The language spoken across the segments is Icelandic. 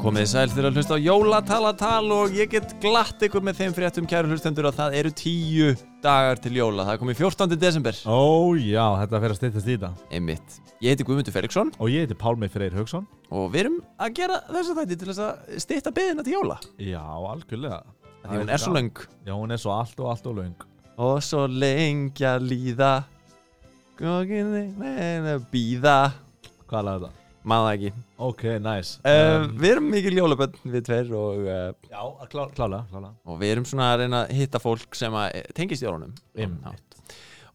Komið sæl þeirra að hlusta á jólatalatal og ég get glatt ykkur með þeim fréttum kæru hlustendur að það eru tíu dagar til jóla. Það er komið 14. desember. Ó já, þetta fer að stýttast í þetta Einmitt. Ég heiti Guðmundur Felixson Og ég heiti Pálmi Freyr Haugsson og við erum að gera þessa þætti til þess að stýtta beðina til jóla. Já, algjörlega Því hún er svo löng. Já, hún er svo allt og allt og löng Og svo lengja líða. Gókinni, neina, býða. Hvað er þetta? Maður það ekki. Ok, nice Um, við erum mikil jólabönn við tveir og, uh, Já, að klá, klála, klála og við erum svona að reyna að hitta fólk sem að eh, tengist jólunum. Einmitt.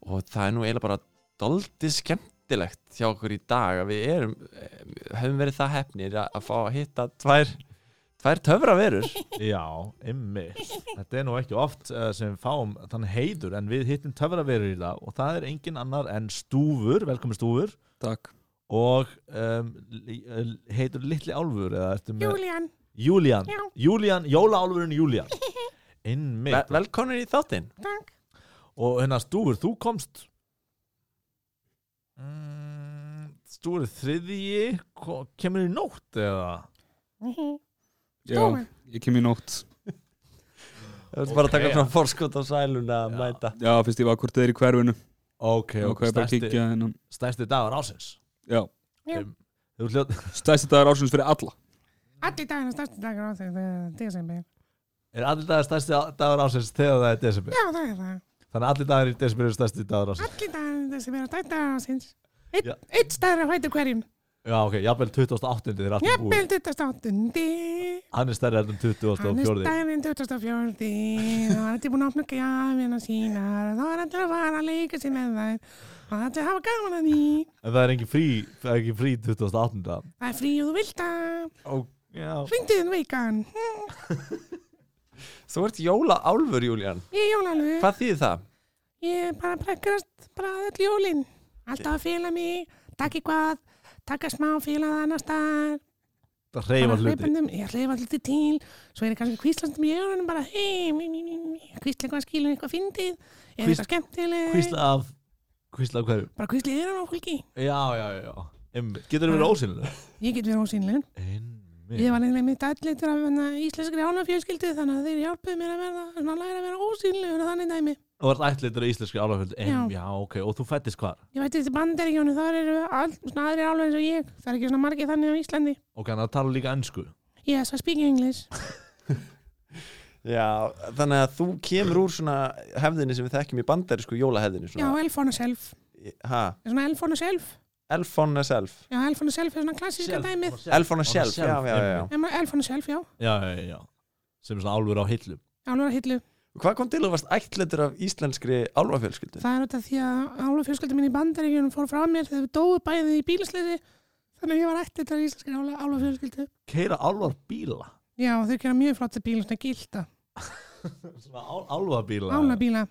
og það er nú eiginlega bara doldi skemmtilegt hjá okkur í dag að við erum, eh, höfum verið það hefnir að, að fá að hitta tvær, tvær töfraverur Já, ymmið Þetta er nú ekki oft uh, sem við fáum þann heiður En við hittum töfraverur í dag Og það er engin annar en Stúfur, velkomin Stúfur Takk Og um, li- eh, heitur Litli Álfur eða ertu með Julian, Júlían Já. Júlían, Jólaálfurinn Júlían Einmitt Vel, Velkomin í þáttinn takk. Og hérna Stúfur, þú komst mm, Stúfur þriðji ko- Kemur í nótt eða? Stóra. Já, ég kem í nótt Þú ert bara að taka Ok. svona forskot á sæluna að Já. mæta Já, fyrst ég var hvort þeir í hverfinu Ok, og hvað ég bara að stærsti, kíkja hennan stærsti dagar ásins Já, Já. Em, Þú hljótt stæsti dagar ásins fyrir alla Allir daginn er stærsti dagar á þessu desember. Er allir dagar stærsti á- dagar ásins þegar það er desember Já, það er það. Þannig að allir dagar í desember eru stærsti dagar ásins Allir daginn er desember, stærsti dagar á sinns. Já. Eitt staðar að hættu hverjum. Já ok, jafnvel 28. þeir allir búið Jafnvel 28. Hann er stærri heldur en Hann er 24. staðinn 24. Það var allir búin að opna gjafina sínar. Það var allir að fara að leika sér með þær. Og allir að hafa gaman að því. En það er engin frí, það er engin frí 28. Það er frí og þú vilt að. Ó, já Hringdu þinn veikan. Hm, Þú ert jóla álfur, Júlían Ég er jólalgu. Hvað þýðir það? Ég bara brekkurast bara að öll jólin. Alltaf að fela mig, takk eitthvað, taka smá félað annar staðar. Það reyfa Bara hluti hlaupandum- Ég hreyfa hluti til, svo er ég kannski kvíslandum í jólunum bara, hei, kvísla eitthvað skilur eitthvað fyndið, eða Hvísl- eitthvað skemmtileg. Hvísla af Hvísla af hverju Bara kvísla yfir hann á fólki. Já, já, já Einmitt. Getur það verið ósynlega? Ég get verið ósýnlegur. Einmitt Ég var nefnilega mitt allitur af hérna, íslenskri ánafjölskyldu þannig að þeir hjálpuðu mér að verða, svona læra að vera ósýnlegur og þannig dæmi. Þú varst ætlitur á íslenski álafjöldu Já. Já, ok, og þú fættist hvar? Ég veit þetta bandaríkjónu, þar eru all, svona aðrir alveg eins og ég. Það er ekki svona margir þannig á Íslandi. Ok, hann tala líka ennsku Yes, I speak English. Já, þannig að þú kemur úr svona hefðinni sem við þekkjum í bandarísku jólahefðinni Já, Elf on a Self. Ha, Er Svona Elf on a Self. elf on a self Já, Elf on a Self er svona klassíska dæmið. Elf on a shelf, já, já, já, já. Ég meina, Elf on a Self, já. Já, já, já, já Sem svona álfur á hillum Álfur að hillu. Hvað kom til að þú varst ætlendur af íslenskri álfafjölskyldu? Það er þetta því að álfur fjölskyldum minn í bandaríkjónum fór frá mér þegar við dóðu bæðið í bílasleysi. Þannig að ég var ættið til íslenskir álfur fjölskyldu. Keira álfar bíla Já, þau gera mjög flotta bíla, svona gilda. Svona ál, álfabíla Álfur bíla.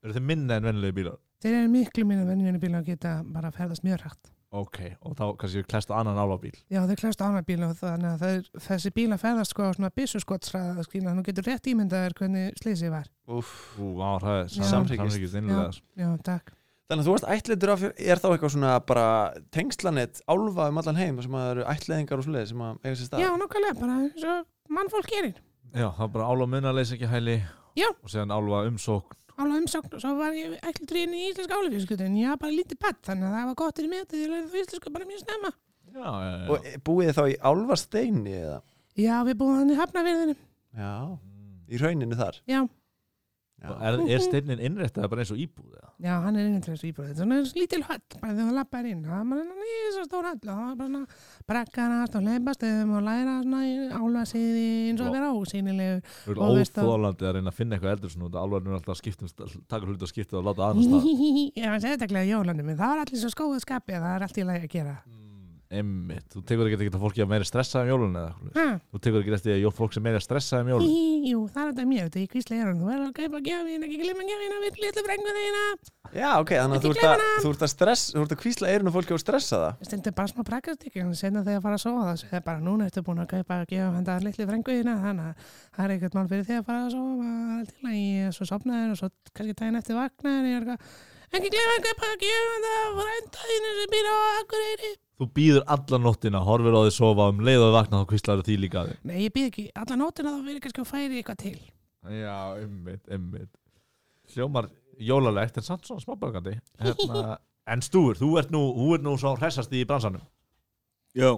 Eru þið minna en vennilegi bílar? Þeir eru miklu minna venjunni bíla og geta bara ferðast mjög hrætt. Ok, og þá kannski við klesta annan álfabíl Já, þau klæðast álfur bíla og þannig að þeir, þessi bíla ferðast sko á svona byssuskotsræða, skilja, nú getur rétt ímyndaður hvernig sleysið var. Úff Ú, á, hræði Já. Samhryggist. Samryggist innlega Já, takk. Þannig að þú varst ætlitur af, er þá eitthvað svona bara tengslanett álfa um allan heim sem að það eru ætliðingar og svoleiði sem að eiga sér stað? Já, nákvæmlega, bara eins og mannfólk gerir. Já, það er bara álfa munaleys ekki hæli Já. Og séðan álfa umsókn Ála umsókn og svo var ég ekki drýin í íslenska álefjölskyldu en ég var bara lítið patt þannig að það var gott inn í mig því ég lærði þú íslensku bara mjög snemma. Já, já, já Og búið þið þá í álfasteini eða? Já, við búum hann í hafnaverðinu. Já, í rauninu þar. Já, Já. Er, er steinin innréttaði bara eins og íbúð eða? já, hann er innendur þessu íbúið. Þetta er svona eins lítil höll, bara þegar þú lappar inn. Það var hann í þessu stóra höll og það var bara svona brakkarast og hleypastöðum og læra svona ála siði eins og að vera ósýnilegur. Þú Og veist að- óþólandi að reyna að finna eitthvað eldur svona út að álfar eru alltaf að skipta um, taka hluti og skipta og láta aðeins stað Ég var sérstaklega í jólanum en það var allir svo skóðu skapi að það er allt í lagi að gera. Emmitt, þú tekur ekki eftir að fólki að meira stressa um jólun eða eitthvað. Ha, Þú tekur ekki eftir að jó- fólk sem meira stressa um jólun. jú, það er þetta mér, þetta ég kvísla í eyrun, þú verður að kaupa gjafin, ekki glemma gjafin að við litlu frengu þeina. Já, ok, þannig að þú ert að, þú ert að stress, þú ert að kvísla eirinu fólki og stressa það. Stundum bara smá prakkastykkir, en senna þegar ég fara að sofa það, það er bara núna ertu búin að kaupa að gefa handa litlu frengu þeina, þannig að það er ekkert mál fyrir þig að fara að sofa, maður er allt til að ég svo sopnaður og svo kannski daginn eftir vaknaður, ég er eitthvað, ekki glemma að kaupa að gefa handa frænda þínu sem býr á Akureyri. Þú býður alla nóttina, horfir á því sofa um leið og vakna þá kvistlar því líka að Nei, ég býð ekki, alla nótina þá verið kannski að færi eitthvað til því Já, ymmit, ymmit Hljómar jólalegt en samt svona smábakandi hérna, En stúr, þú ert nú, þú ert nú svo hressast í bransanum Já,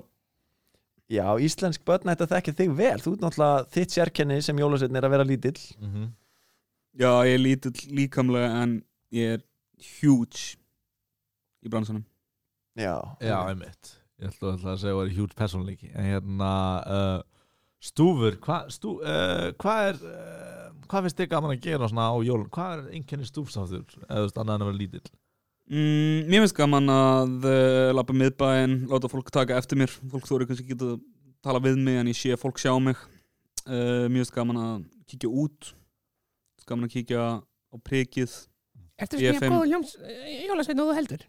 Já, íslensk börn ætti að þekka þig vel Þú ert náttúrulega þitt sérkenni sem jólasetn er að vera lítill mm -hmm. já, ég er lítill líkamlega en ég er huge í bransanum Já, Já, ymmit Ég ætla, ætla að segja að það er hjút persónleiki En hérna, uh, stúfur, hvað stú, uh, hva er uh, Hvað finnst þið gaman að gera svona á jólun? Hvað er einkenni stúfsáttur eða þú veist annað en að vera lítill? mm, Mér finnst gaman að uh, lappa miðbæinn, láta fólk taka eftir mér Fólk þóri kannski ekki að tala við mig en ég sé að fólk sjá mig uh, Mér finnst gaman að kíkja út finnst Gaman að kíkja á prikið Ertu Ég sem ég fimm. góð ljóms, jólasveitn og þú heldur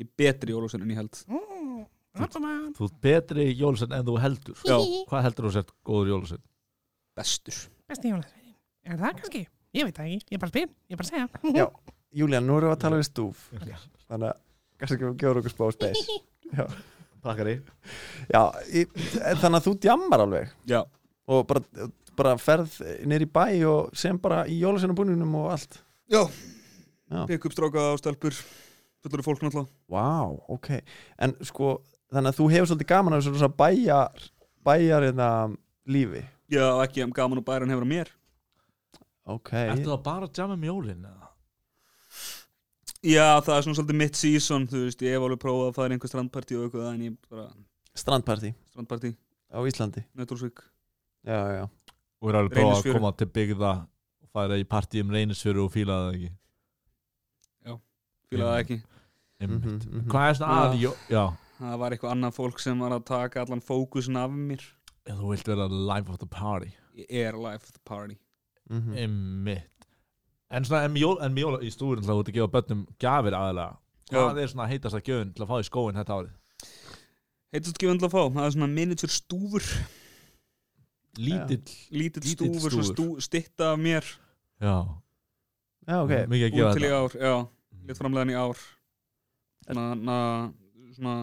Ég er betri í Ólafsson en ég held mm, Abbama. Þú ert betri í jólusinn en þú heldur Já. Hvað heldur þú sért góður jólusinn? Bestur Besti jólasveitn Er það kannski? Ég veit það ekki, ég bara spyr, ég bara segja Já. Júlían, nú erum við að tala við stúf Þannig að kannski við gjóður okkur spá spes Takkari Já, í, þannig að þú djammar alveg Já, og bara, bara ferð nýr í bæ og sem bara í jólasetnabúninum og allt já. Já. Pekk upp stráka á stelpur Fullur af fólk náttúrulega Vá, ok En sko, þannig að þú hefur svolítið gaman af þessu rosa bæjar bæjar hérna lífi Já, ekki um gaman og bæran hefur á mér Ok, Ertu það bara að jamma um jólinn eða? Já, það er svona svolítið mitt season Þú veist, ég hef alveg prófað að fara í einhver strandpartí og eitthvað En ég bara, strandparti strandpartí, á Íslandi nættursvík Já, já, Og er alveg prófa að Reynisfjöru. koma til byggða og fara í partí um reynisfjöru og fíla það ekki Fýlaði það ekki mm Mhm, mhm. Hvað er svona að Já. jó... Já, Það var eitthvað annað fólk sem var að taka allan fókusin af mér ef þú vilt vera life of the party Ég er life of the party mm Einmitt En svona, en mjóla, en mjóla í stúrin þá þú ert að gefa börnum gjafir aðalega Hvað er svona heitast að gjöfun til að fá í skóin þetta árið? Heitast ekki vöndla að fá, það er svona miniature stúfur Lítill Lítill Lítill stúfur, svo stú, stúfur. stitta af mér Já, já ok mikið að Út gefa til í þetta ár, já, létt framlegan í ár Svona, na, svona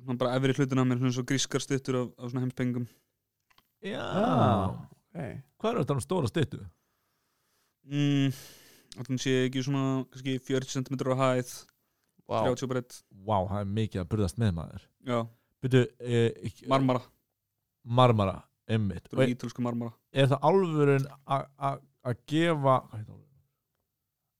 Svona bara efri hlutin af mér, svona svo grískar stuttur af, af svona heimspengum Já, Já, ok hvað eru þetta um stóra styttu? mm, Þannig sé ég ekki svona kannski 40 cm á hæð Vá, 30 breytt, Vá, það er mikið að burðast með maður já, Byrju, eh, marmara marmara, einmitt Þetta er ítölsku marmara er það alvörun a- a- að gefa hvað heitir hún?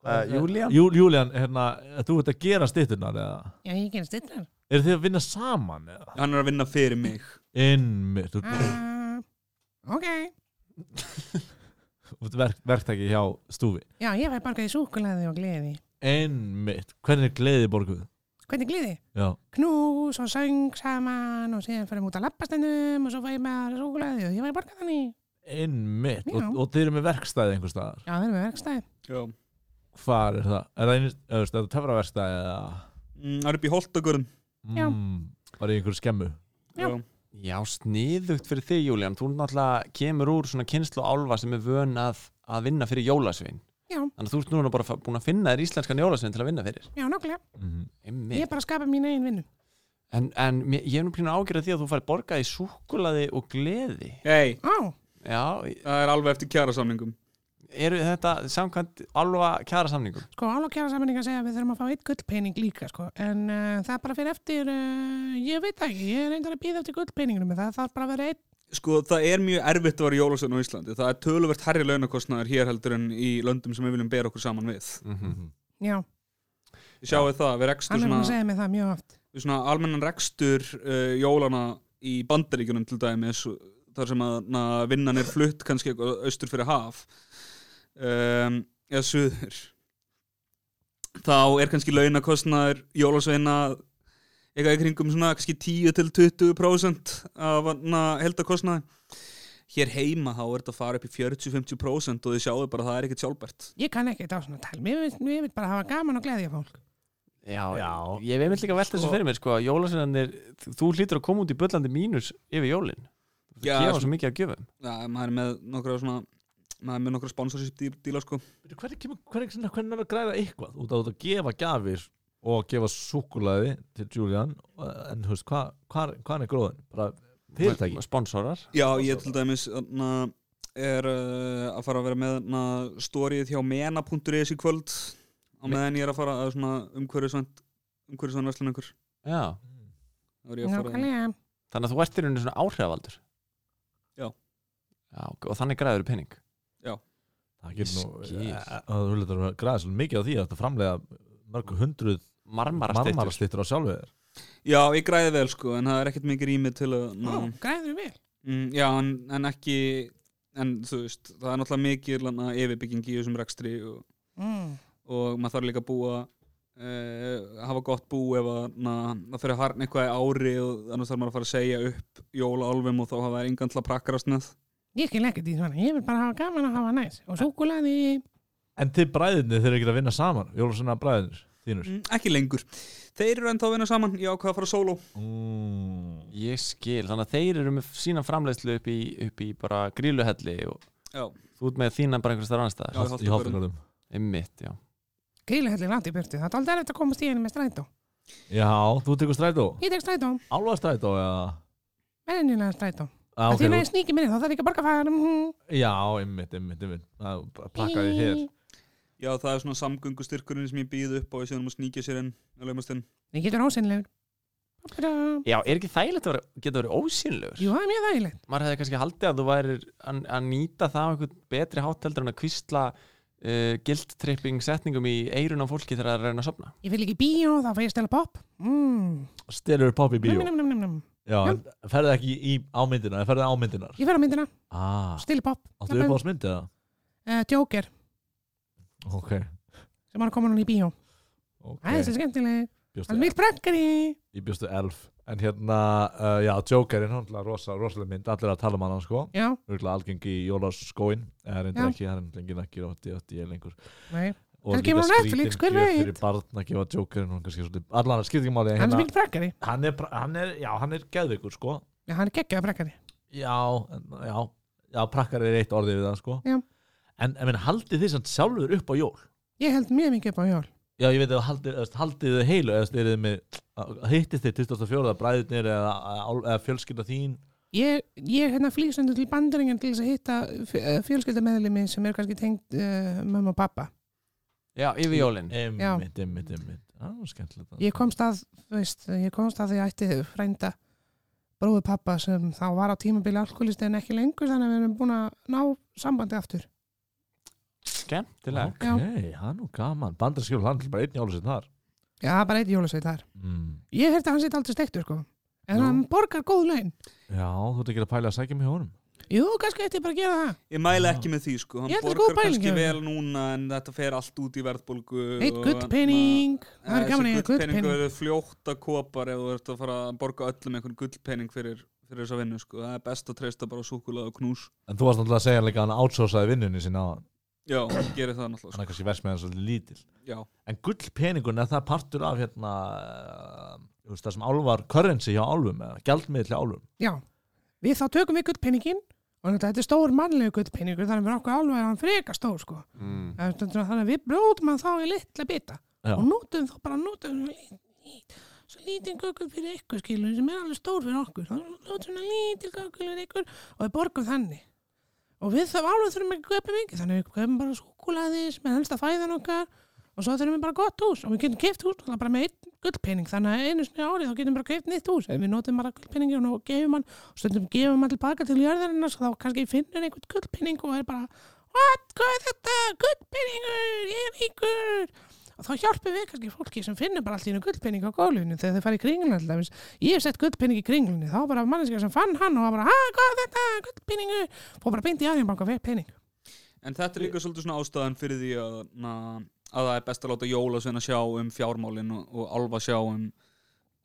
Uh, Júlían? Jú, Júlían, hérna, að þú ert að gera styttunar eða Já, ég gerist þetta eru þið að vinna saman eða Hann er að vinna fyrir mig innmitt, þú uh, Ok, þú ert verk, verktæki hjá stúfi já, ég fæ bargað í súkulaði og gleði innmitt, hvernig er gleði borguð Hvernig gleði? já, knús og söng saman og síðan fyrir út að lappastendum og svo fæði maður súkulaði og ég var í borgað þannig. innmitt og, Já. og þið eru með verkstæði einhver staðar Já, það er með verkstæði. Já hvað er það, er það, einu, eða, veist, er það töfra verkstæði eða Mm, Það er upp í Holtagörðum Já. mm, bara í einhverju skemmu Já. Já, sniðugt fyrir þig Júlían Þú náttúrulega kemur úr svona kynslu álfa sem er vön að, að vinna fyrir jólasvein Já. Þannig að þú ert núna bara fa- búin að finna þér íslenskan jólasvein til að vinna fyrir Já, nokkulega. mm. Ég Einmitt. er bara að skapa mín eigin vinnu. En, en mér- ég hef nú pínu ágjörð af því að þú fær borgað í súkulaði og gleði Hei, Á, Já, það er alveg eftir kjara samningum eru þetta samkvæmt alva kjara samningum? sko, alveg kjara saminninga segja að við þurfum að fá eitt gullpening líka, sko. En uh, það bara fyrir eftir, uh, ég veit það ekki, ég er reyndar að býða eftir gullpeninginu, en það þarf bara að vera eitt. Sko, það er mjög erfitt að vera jólasveinn á Íslandi Það er töluvert herri launakostnaður hér heldur en í löndum sem við viljum bera okkur saman við mhm. Já, Sjáu það, við rekstur hann er búin að svona, segja mig það mjög oft. við svona almennan rekstur uh, jólana í bandaríkjunum til dæmis þar sem að na, vinnan er flutt kannski eitthvað austur fyrir haf um, eða suður þá er kannski launakostnaður jólasveina eitthvað í kringum svona kannski 10-20% af na, heldakostnaði hér heima þá er þetta að fara upp í 40-50% og þið sjáu bara að það er ekkert sjálfbært Ég kann ekki þetta á svona tælum, ég vil, ég vil bara hafa gaman og gleðja fólk. Já, Já. ég hef einmitt líka velt þessu Sko- fyrir mér sko, að jólasveinarnir, þú hlýtur að koma út í bullandi mínus yfir jólin Þú Já, gefa sko- svo mikið að gjöfum Já, maður er með nokkra svona maður er með nokkra sponsorship díla sko Hvernig, kemur, hvernig, hvernig, hvernig er að græða eitthvað út af út að gefa gjafir og gefa súkulaði til Julian eh, en þú veist, hvað hva, hva er gróðin? bara fyrirtæki Sponsorar Já, ég til dæmis na, er uh, að fara að vera með na, stórið hjá mena.is í kvöld á meðan ég er að fara að svona umhverfisvænt umhverfisvænt verslan ykkur Já, þá er ég að fara að, Nákvæmlega. þannig að þú ert í rauninu svona áhrifavaldur Já. Já, og þannig græður pening það getur nú Skil. eh, eh, þú hlutur að græða svolítið mikið á því að þetta framlega mörgu hundruð Marmarastittur marmarastittur á sjálfu þér Já, ég græði vel sko en það er ekkert mikið rými til að na, Ó, græður við mm, Já, en, en ekki en þú veist, það er náttúrulega mikið lana, yfirbygging í þessum rekstri og, mm. og maður þarf líka að búa uh, hafa gott bú ef að na, það fyrir að harn eitthvað í ári og annars þarf maður að fara að segja upp jólaálfum og þá hafa það engan til að prakkarast með Ég skil ekkert í svona, ég vil bara hafa gaman að hafa næs og súkulaði en þið bræðinni þeir eru ekki að vinna saman Jólusina bræðinir þínur Mm, ekki lengur þeir eru ennþá að vinna saman, ég ákvað að fara sóló mm. Ég skil, þannig að þeir eru með sína framleiðslu upp í, upp í bara gríluhelli og já, þú ert með þína bara einhvers þar annars staðar Já. Holt- í Holtagörðum Einmitt, já Keiluhellir langt í burtu, það er aldrei eftir að komast í henni með strætó já, þú tekur strætó Ég tek strætó, álfa strætó eða menninjulega strætó Ah, ok, okay, Því að ég sníki minni, þá þarf ég ekki að borga fæðan þú- Já, ymmit, ymmit, ymmit Plakkaði hér já, það er svona samgöngustyrkurinn sem ég býð upp á og síðan má sníkja sér inn að laumast inn Ég getur ósynlegur Jú, Já, er ekki þægilegt að vera, geta verið ósynlegur? það er mjög þægilegt Maður hefði kannski haldið að þú væri að, að nýta það á einhvern betri háteldur en að kvísla uh, guilt-tripping setningum í eirun á fólki þegar það er að reyna að sofna Ég vil ekki í bíó, þá fæ ég stela pop mm. Stelur popp í bíó Num, num, num, num. Já, en ferðu ekki í ámyndina Ferðu ámyndinar Ég fer á myndina, Ah, stela pop áttu upp á smyndi eða? uh, Joker, Ok, sem var að koma núna í bíó Það er ok svo skemmtileg, Bjóstu hann er mjög brakkari Ég bjóstu elf En hérna, uh, já, Jokerinn Hún er rosa, rosalega mynd Allir að tala um hana, sko Já, Örgulega algengi í jólaskóin Það er Já. reyndar ekki, það er reyndar ekki Rótti, rótti, ég lengur nei, Og Kannski líka var hún Netflix, skrítin hver gjöf veit? Fyrir barn að gefa Jokerinn Hún kannski svolítið Allan, skiptir ekki máli hérna, hann er mjög brakkari hann er, pra- hann er, já, hann er geðveikur sko Já, hann er geggjað brakkari já, en- já, já, prakkar er eitt orðið við það sko Já. en, en haldið þið samt sjálfur upp á jól Ég held mjög mikið upp á jól já, ég veit að haldið, eða, haldið þið heilu eða styrir þið með, hittist þið 24. bræðurnir eða, eða, eða fjölskylda þín Ég, ég hérna flýs undir til bandaringin til þess að hitta fjölskyldameðlimi sem er kannski tengd uh, mömmu og pappa. Já, yfir jólin einmitt, einmitt, einmitt það var skemmtilegt Ég komst að, þú veist, ég komst að því að ætti frænda bróðu pappa sem þá var á tímabili alkoholist en ekki lengur þannig að við erum búin að ná sambandi aftur. Skemmtileg ok, það er nú gaman bandarskjöld, hann er bara einn jólusinn þar Já, það er bara eitt jólasveit þar. mm. Ég hérti að hann sitt aldrei stektur, sko. En Nú. hann borgar góð laun. já, þú ert ekki að pæla að sækja mig hjá honum Jú, kannski ætti ég bara að gera það. ég mæla ekki með því sko, hann Ég held að borgar góð pæling, kannski já. vel núna en þetta fer allt út í verðbólgu hérna- Eh, Eitt gullpenning. Það er gaman að eiga gullpenning. gullpenningur er fljótt að kopar ef þú ert að fara að borga öllum einhvern gullpenning fyrir, fyrir þessa vinnu sko, það er best að treysta bara súkulað og knús en þú varst náttúrulega að segja líka að hann átsósaði vinnunni sinna á hann já, ég gerir það hann náttúrulega sko. er kannski versmiðan svolítið lítil já, En gullpeningun er það partur af hérna, eh, þú veist, það sem álvar currency hjá álfum, eða gjaldmiðl hjá álfum. Já, við þá tökum við guttpenningin og þetta þetta er stór mannlegu guttpenningur þannig að við okkur álfa er hann freka stór sko. mm. Það er svona- þannig að við brótum hann þá í litla bita Já. og notum þá bara notum hann lít, lít, svo lítinn kökul fyrir ykkur skilur sem er alveg stór fyrir okkur þá notum hann lítil kökul fyrir ykkur og við borgum þannig og við þá álfa þurfum ekki að köpa mikið þannig að við köpum bara súkulaði sem er helsta fæðan okkar og svo þurfum við bara gott hús og við getum keft hús náttúrulega bara með einn gullpenning þannig að einu sinni ári þá getum við bara keft nýtt hús ef við notum bara gullpenningin og gefum hann og stundum gefum hann tilbaka til jörðarinnar svo þá kannski finnur einhvern gullpenning og er bara what, hvað er þetta, gullpenningur ég er ríkur og þá hjálpum við kannski fólki sem finnur bara allt í einu gullpenning á gólfinu þegar þau fara í kringlun alltaf ég hef sett gullpenning í kringlunni þá bara manneskja sem fann hann og var bara ha, hvað er þetta, gullpenningur fór bara beint í aðeinbanka og fekk penning en þetta er líka svolítið svona ástæðan fyrir því að, na, að það er best að láta jólasveina sjá um fjármálin og, og alva sjá um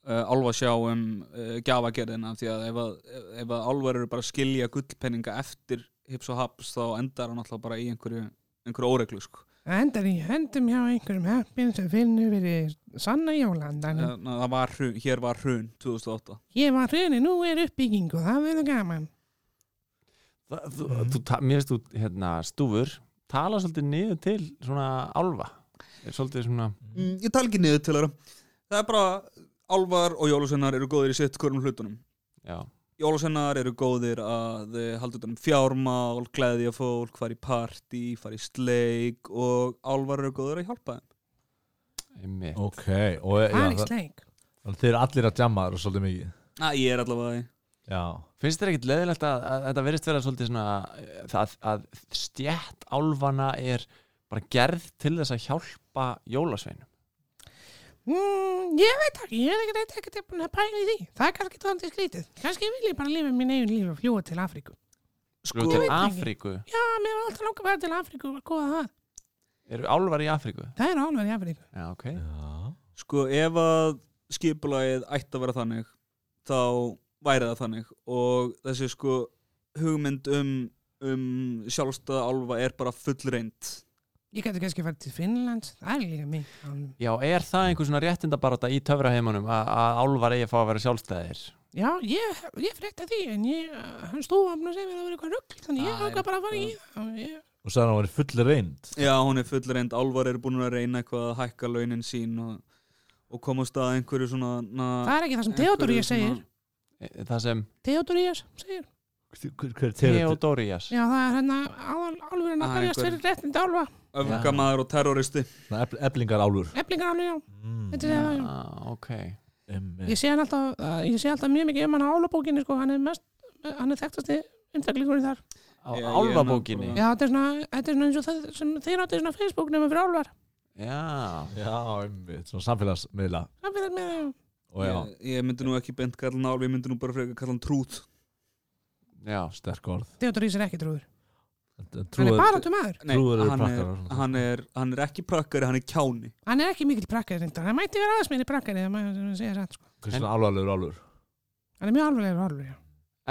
Uh, alva sjá um uh, gjafagerðina því að ef, að, ef að alvar eru bara að skilja gullpenninga eftir hips og haps þá endar hann alltaf bara í einhverju, einhverju óreglu sko. það endar í hendum hjá einhverjum heppin sem finnur fyrir sanna jólandan uh, na, það var hrun, hér var hrun 2008 ég var hruni, nú er uppbygging og það verður gaman Það, þú, þú, ta- Mér veist þú, hérna, stúfur tala svolítið niður til svona álfa er svolítið svona Mm, ég tala ekki niður til þeirra það er bara álvar og jólusennar eru góðir í sitt hverjum hlutunum já, jólusennar eru góðir að eh, halda utan um fjármál, gleðja fólk fara í partí, fara í sleik og álvar eru góðir að hjálpa þeim einmitt Ok, og e- já, Það er í það, sleik þannig þeir eru allir að jamma þar svolítið mikið Næ, ég er allavega því Já, Finnst þér ekkit leðilegt að, að, þetta verðist vera svolítið svona eh, það, að stjætt álfana er bara gerð til þess að hjálpa jólasveinum Mm, ég veit ekki, ég er ekkert ekkert ekkert búin að pæla í því Það er kannski tóðandi skrítið Kannski vil ég bara lifa mín eigin lífi og fljúa til Afríku Sko Ég til veit það ekki. Afríku, Já, mér var alltaf langar að vera til Afríku og góða það eru álfar í Afríku? Það er álverði í Afríku Já, ok já. sko ef að skipulagið ætti að vera þannig þá væri það þannig og þessi sko hugmynd um, um sjálfstæða álfa er bara fullreind Ég gæti kannski að fara til Finnland Það er líka mig Um, Já, er það einhver svona réttindabaróta í töfraheimunum að, að álfar eigi að fá að vera sjálfstæðir? Já, ég, ég frétta því en ég, uh, hann stúfamn og segir mér að það vera eitthvað rugl þannig ég Það er- ákvað bara að fara í það Ég- Og sagði hann að hann var full reynd Já, hún er fullreind, álvar eru búin að reyna eitthvað að hækka launin sín og, og komast að einhverju svona na, Það er ekki það sem einhverju Theodoríus segir svona- E- Það sem Theodoríus segir Hver, hver tegund- Theodorias Já, það er hérna áðan álverðin Ah, að berjast einhver- fyrir réttindi álfa Öfgamaður og terroristi svona epl- Eblingar álur Eflingar álfa, já Mm. Þetta er það ah, Ok, Ég sé hann alltaf, uh, ég sé alltaf mjög mikið um hann á álabókinni sko, hann er mest, hann er þekktasti umtaklingurinn þar. á Já, ég álfabókinni nefndi Já, þetta er svona, þetta er svona eins og það sem þeir áttu í svona Facebook nema fyrir álvar. Já, Já, einmitt, svona samfélagsmiðla Það fyrir með það. Og já, ég, ég myndi nú ekki beint kalla hann álf, ég myndi nú bara frekar kalla hann trút já sterk orð Theodor Ís er ekki trúður. Hann er Trúður, bara áttu maður. Nei, Trúður eru hann er, prakkarar. hann, er, hann er ekki prakkari, hann er kjáni Hann er ekki mikill prakkari reyndar. Hann mætti vera aðeins meiri prakkari þegar maður segja satt sko. hversu svona álvarlegur álur Hann er mjög alvarlegur álfur, já.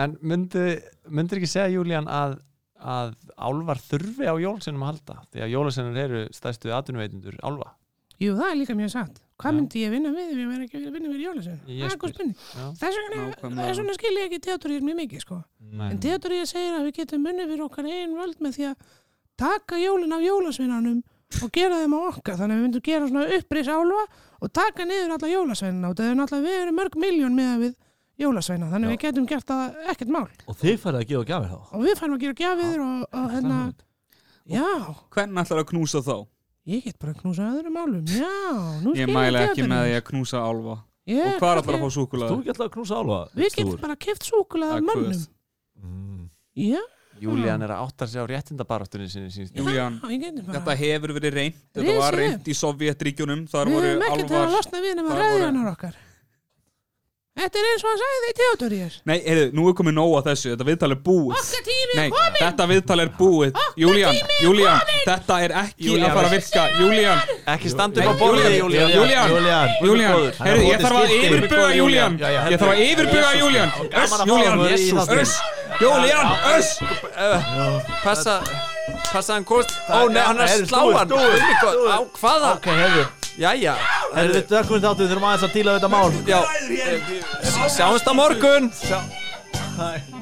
En myndi, myndir ekki segja Júlían að, að álfar þurfi á jólasinum að halda því að jólasinur eru stæstu atvinnuveitindur álfa Jú, það er líka mjög satt. Já. Hvað myndi ég vinna við ef ég verði ekki að vinna við jólasun? Ég Það er spyr. góð spurning. Já. Þess vegna, Nákvæmlega. þess vegna skil ég ekki Theodor Ís mjög mikið sko. En Theodor ég segir að við getum munið fyrir okkar einn völd með því að taka jólin af jólasveinanum og gera þeim á okkar þannig að við myndum gera svona upprís álfa og taka niður alla jólasveinana og það er náttúrulega við erum mörg miljón með við jólasveina þannig Já. að við getum gert það ekkert mál Og þið færið að gefa gjafir þá og við fannum að gera gjafir og, og hérna, já, Hvernig ætlar að knúsa þá? ég get bara að knúsa öðrum álum, já, nú Ég skil mæla ekki með því að knúsa álfa ég, Og hvað ætlar að fá Þú súkulega? ekki alltaf að knúsa álva Við getum bara keft súkulað af Það er mönnum, kvöð. mm. já, Júlían er að áttar sig á réttindabaráttunni sinni síns Júlían, já, ég getum þetta bara hefur verið reynd Þetta Risi var upp. reynd í Sovjetríkjunum Þar Við voru höfum ekkert verið að álfar losna við nema það voru- ræðjanar okkar Þetta er eins og hann sagði í Theodoríus Nei, heyrðu, nú er komið nóg að þessu, þetta viðtal er búið Okkar tími Nei, þetta viðtal er búið Júlían, Júlían, þetta er ekki Júlían, að fara að virka Júlían, Ekki standa upp á Nei, borðið Júlían, Júlían Júlían, Júlían Heyrðu, ég þarf að yfirbuga Júlían Ég þarf að yfirbuga Júlían Öss, Júlían, öss Júlían, öss Passa, passa hann kost Ó nei, hann er að Heyrðu, slá snúið, hann snúið, Guð minn góð, Á hvaða? Ok, heyrðu Jæja Heyrðu, við dökum þáttu, við þurfum aðeins að díla við þetta mál Já, sjáumst á morgun Hæ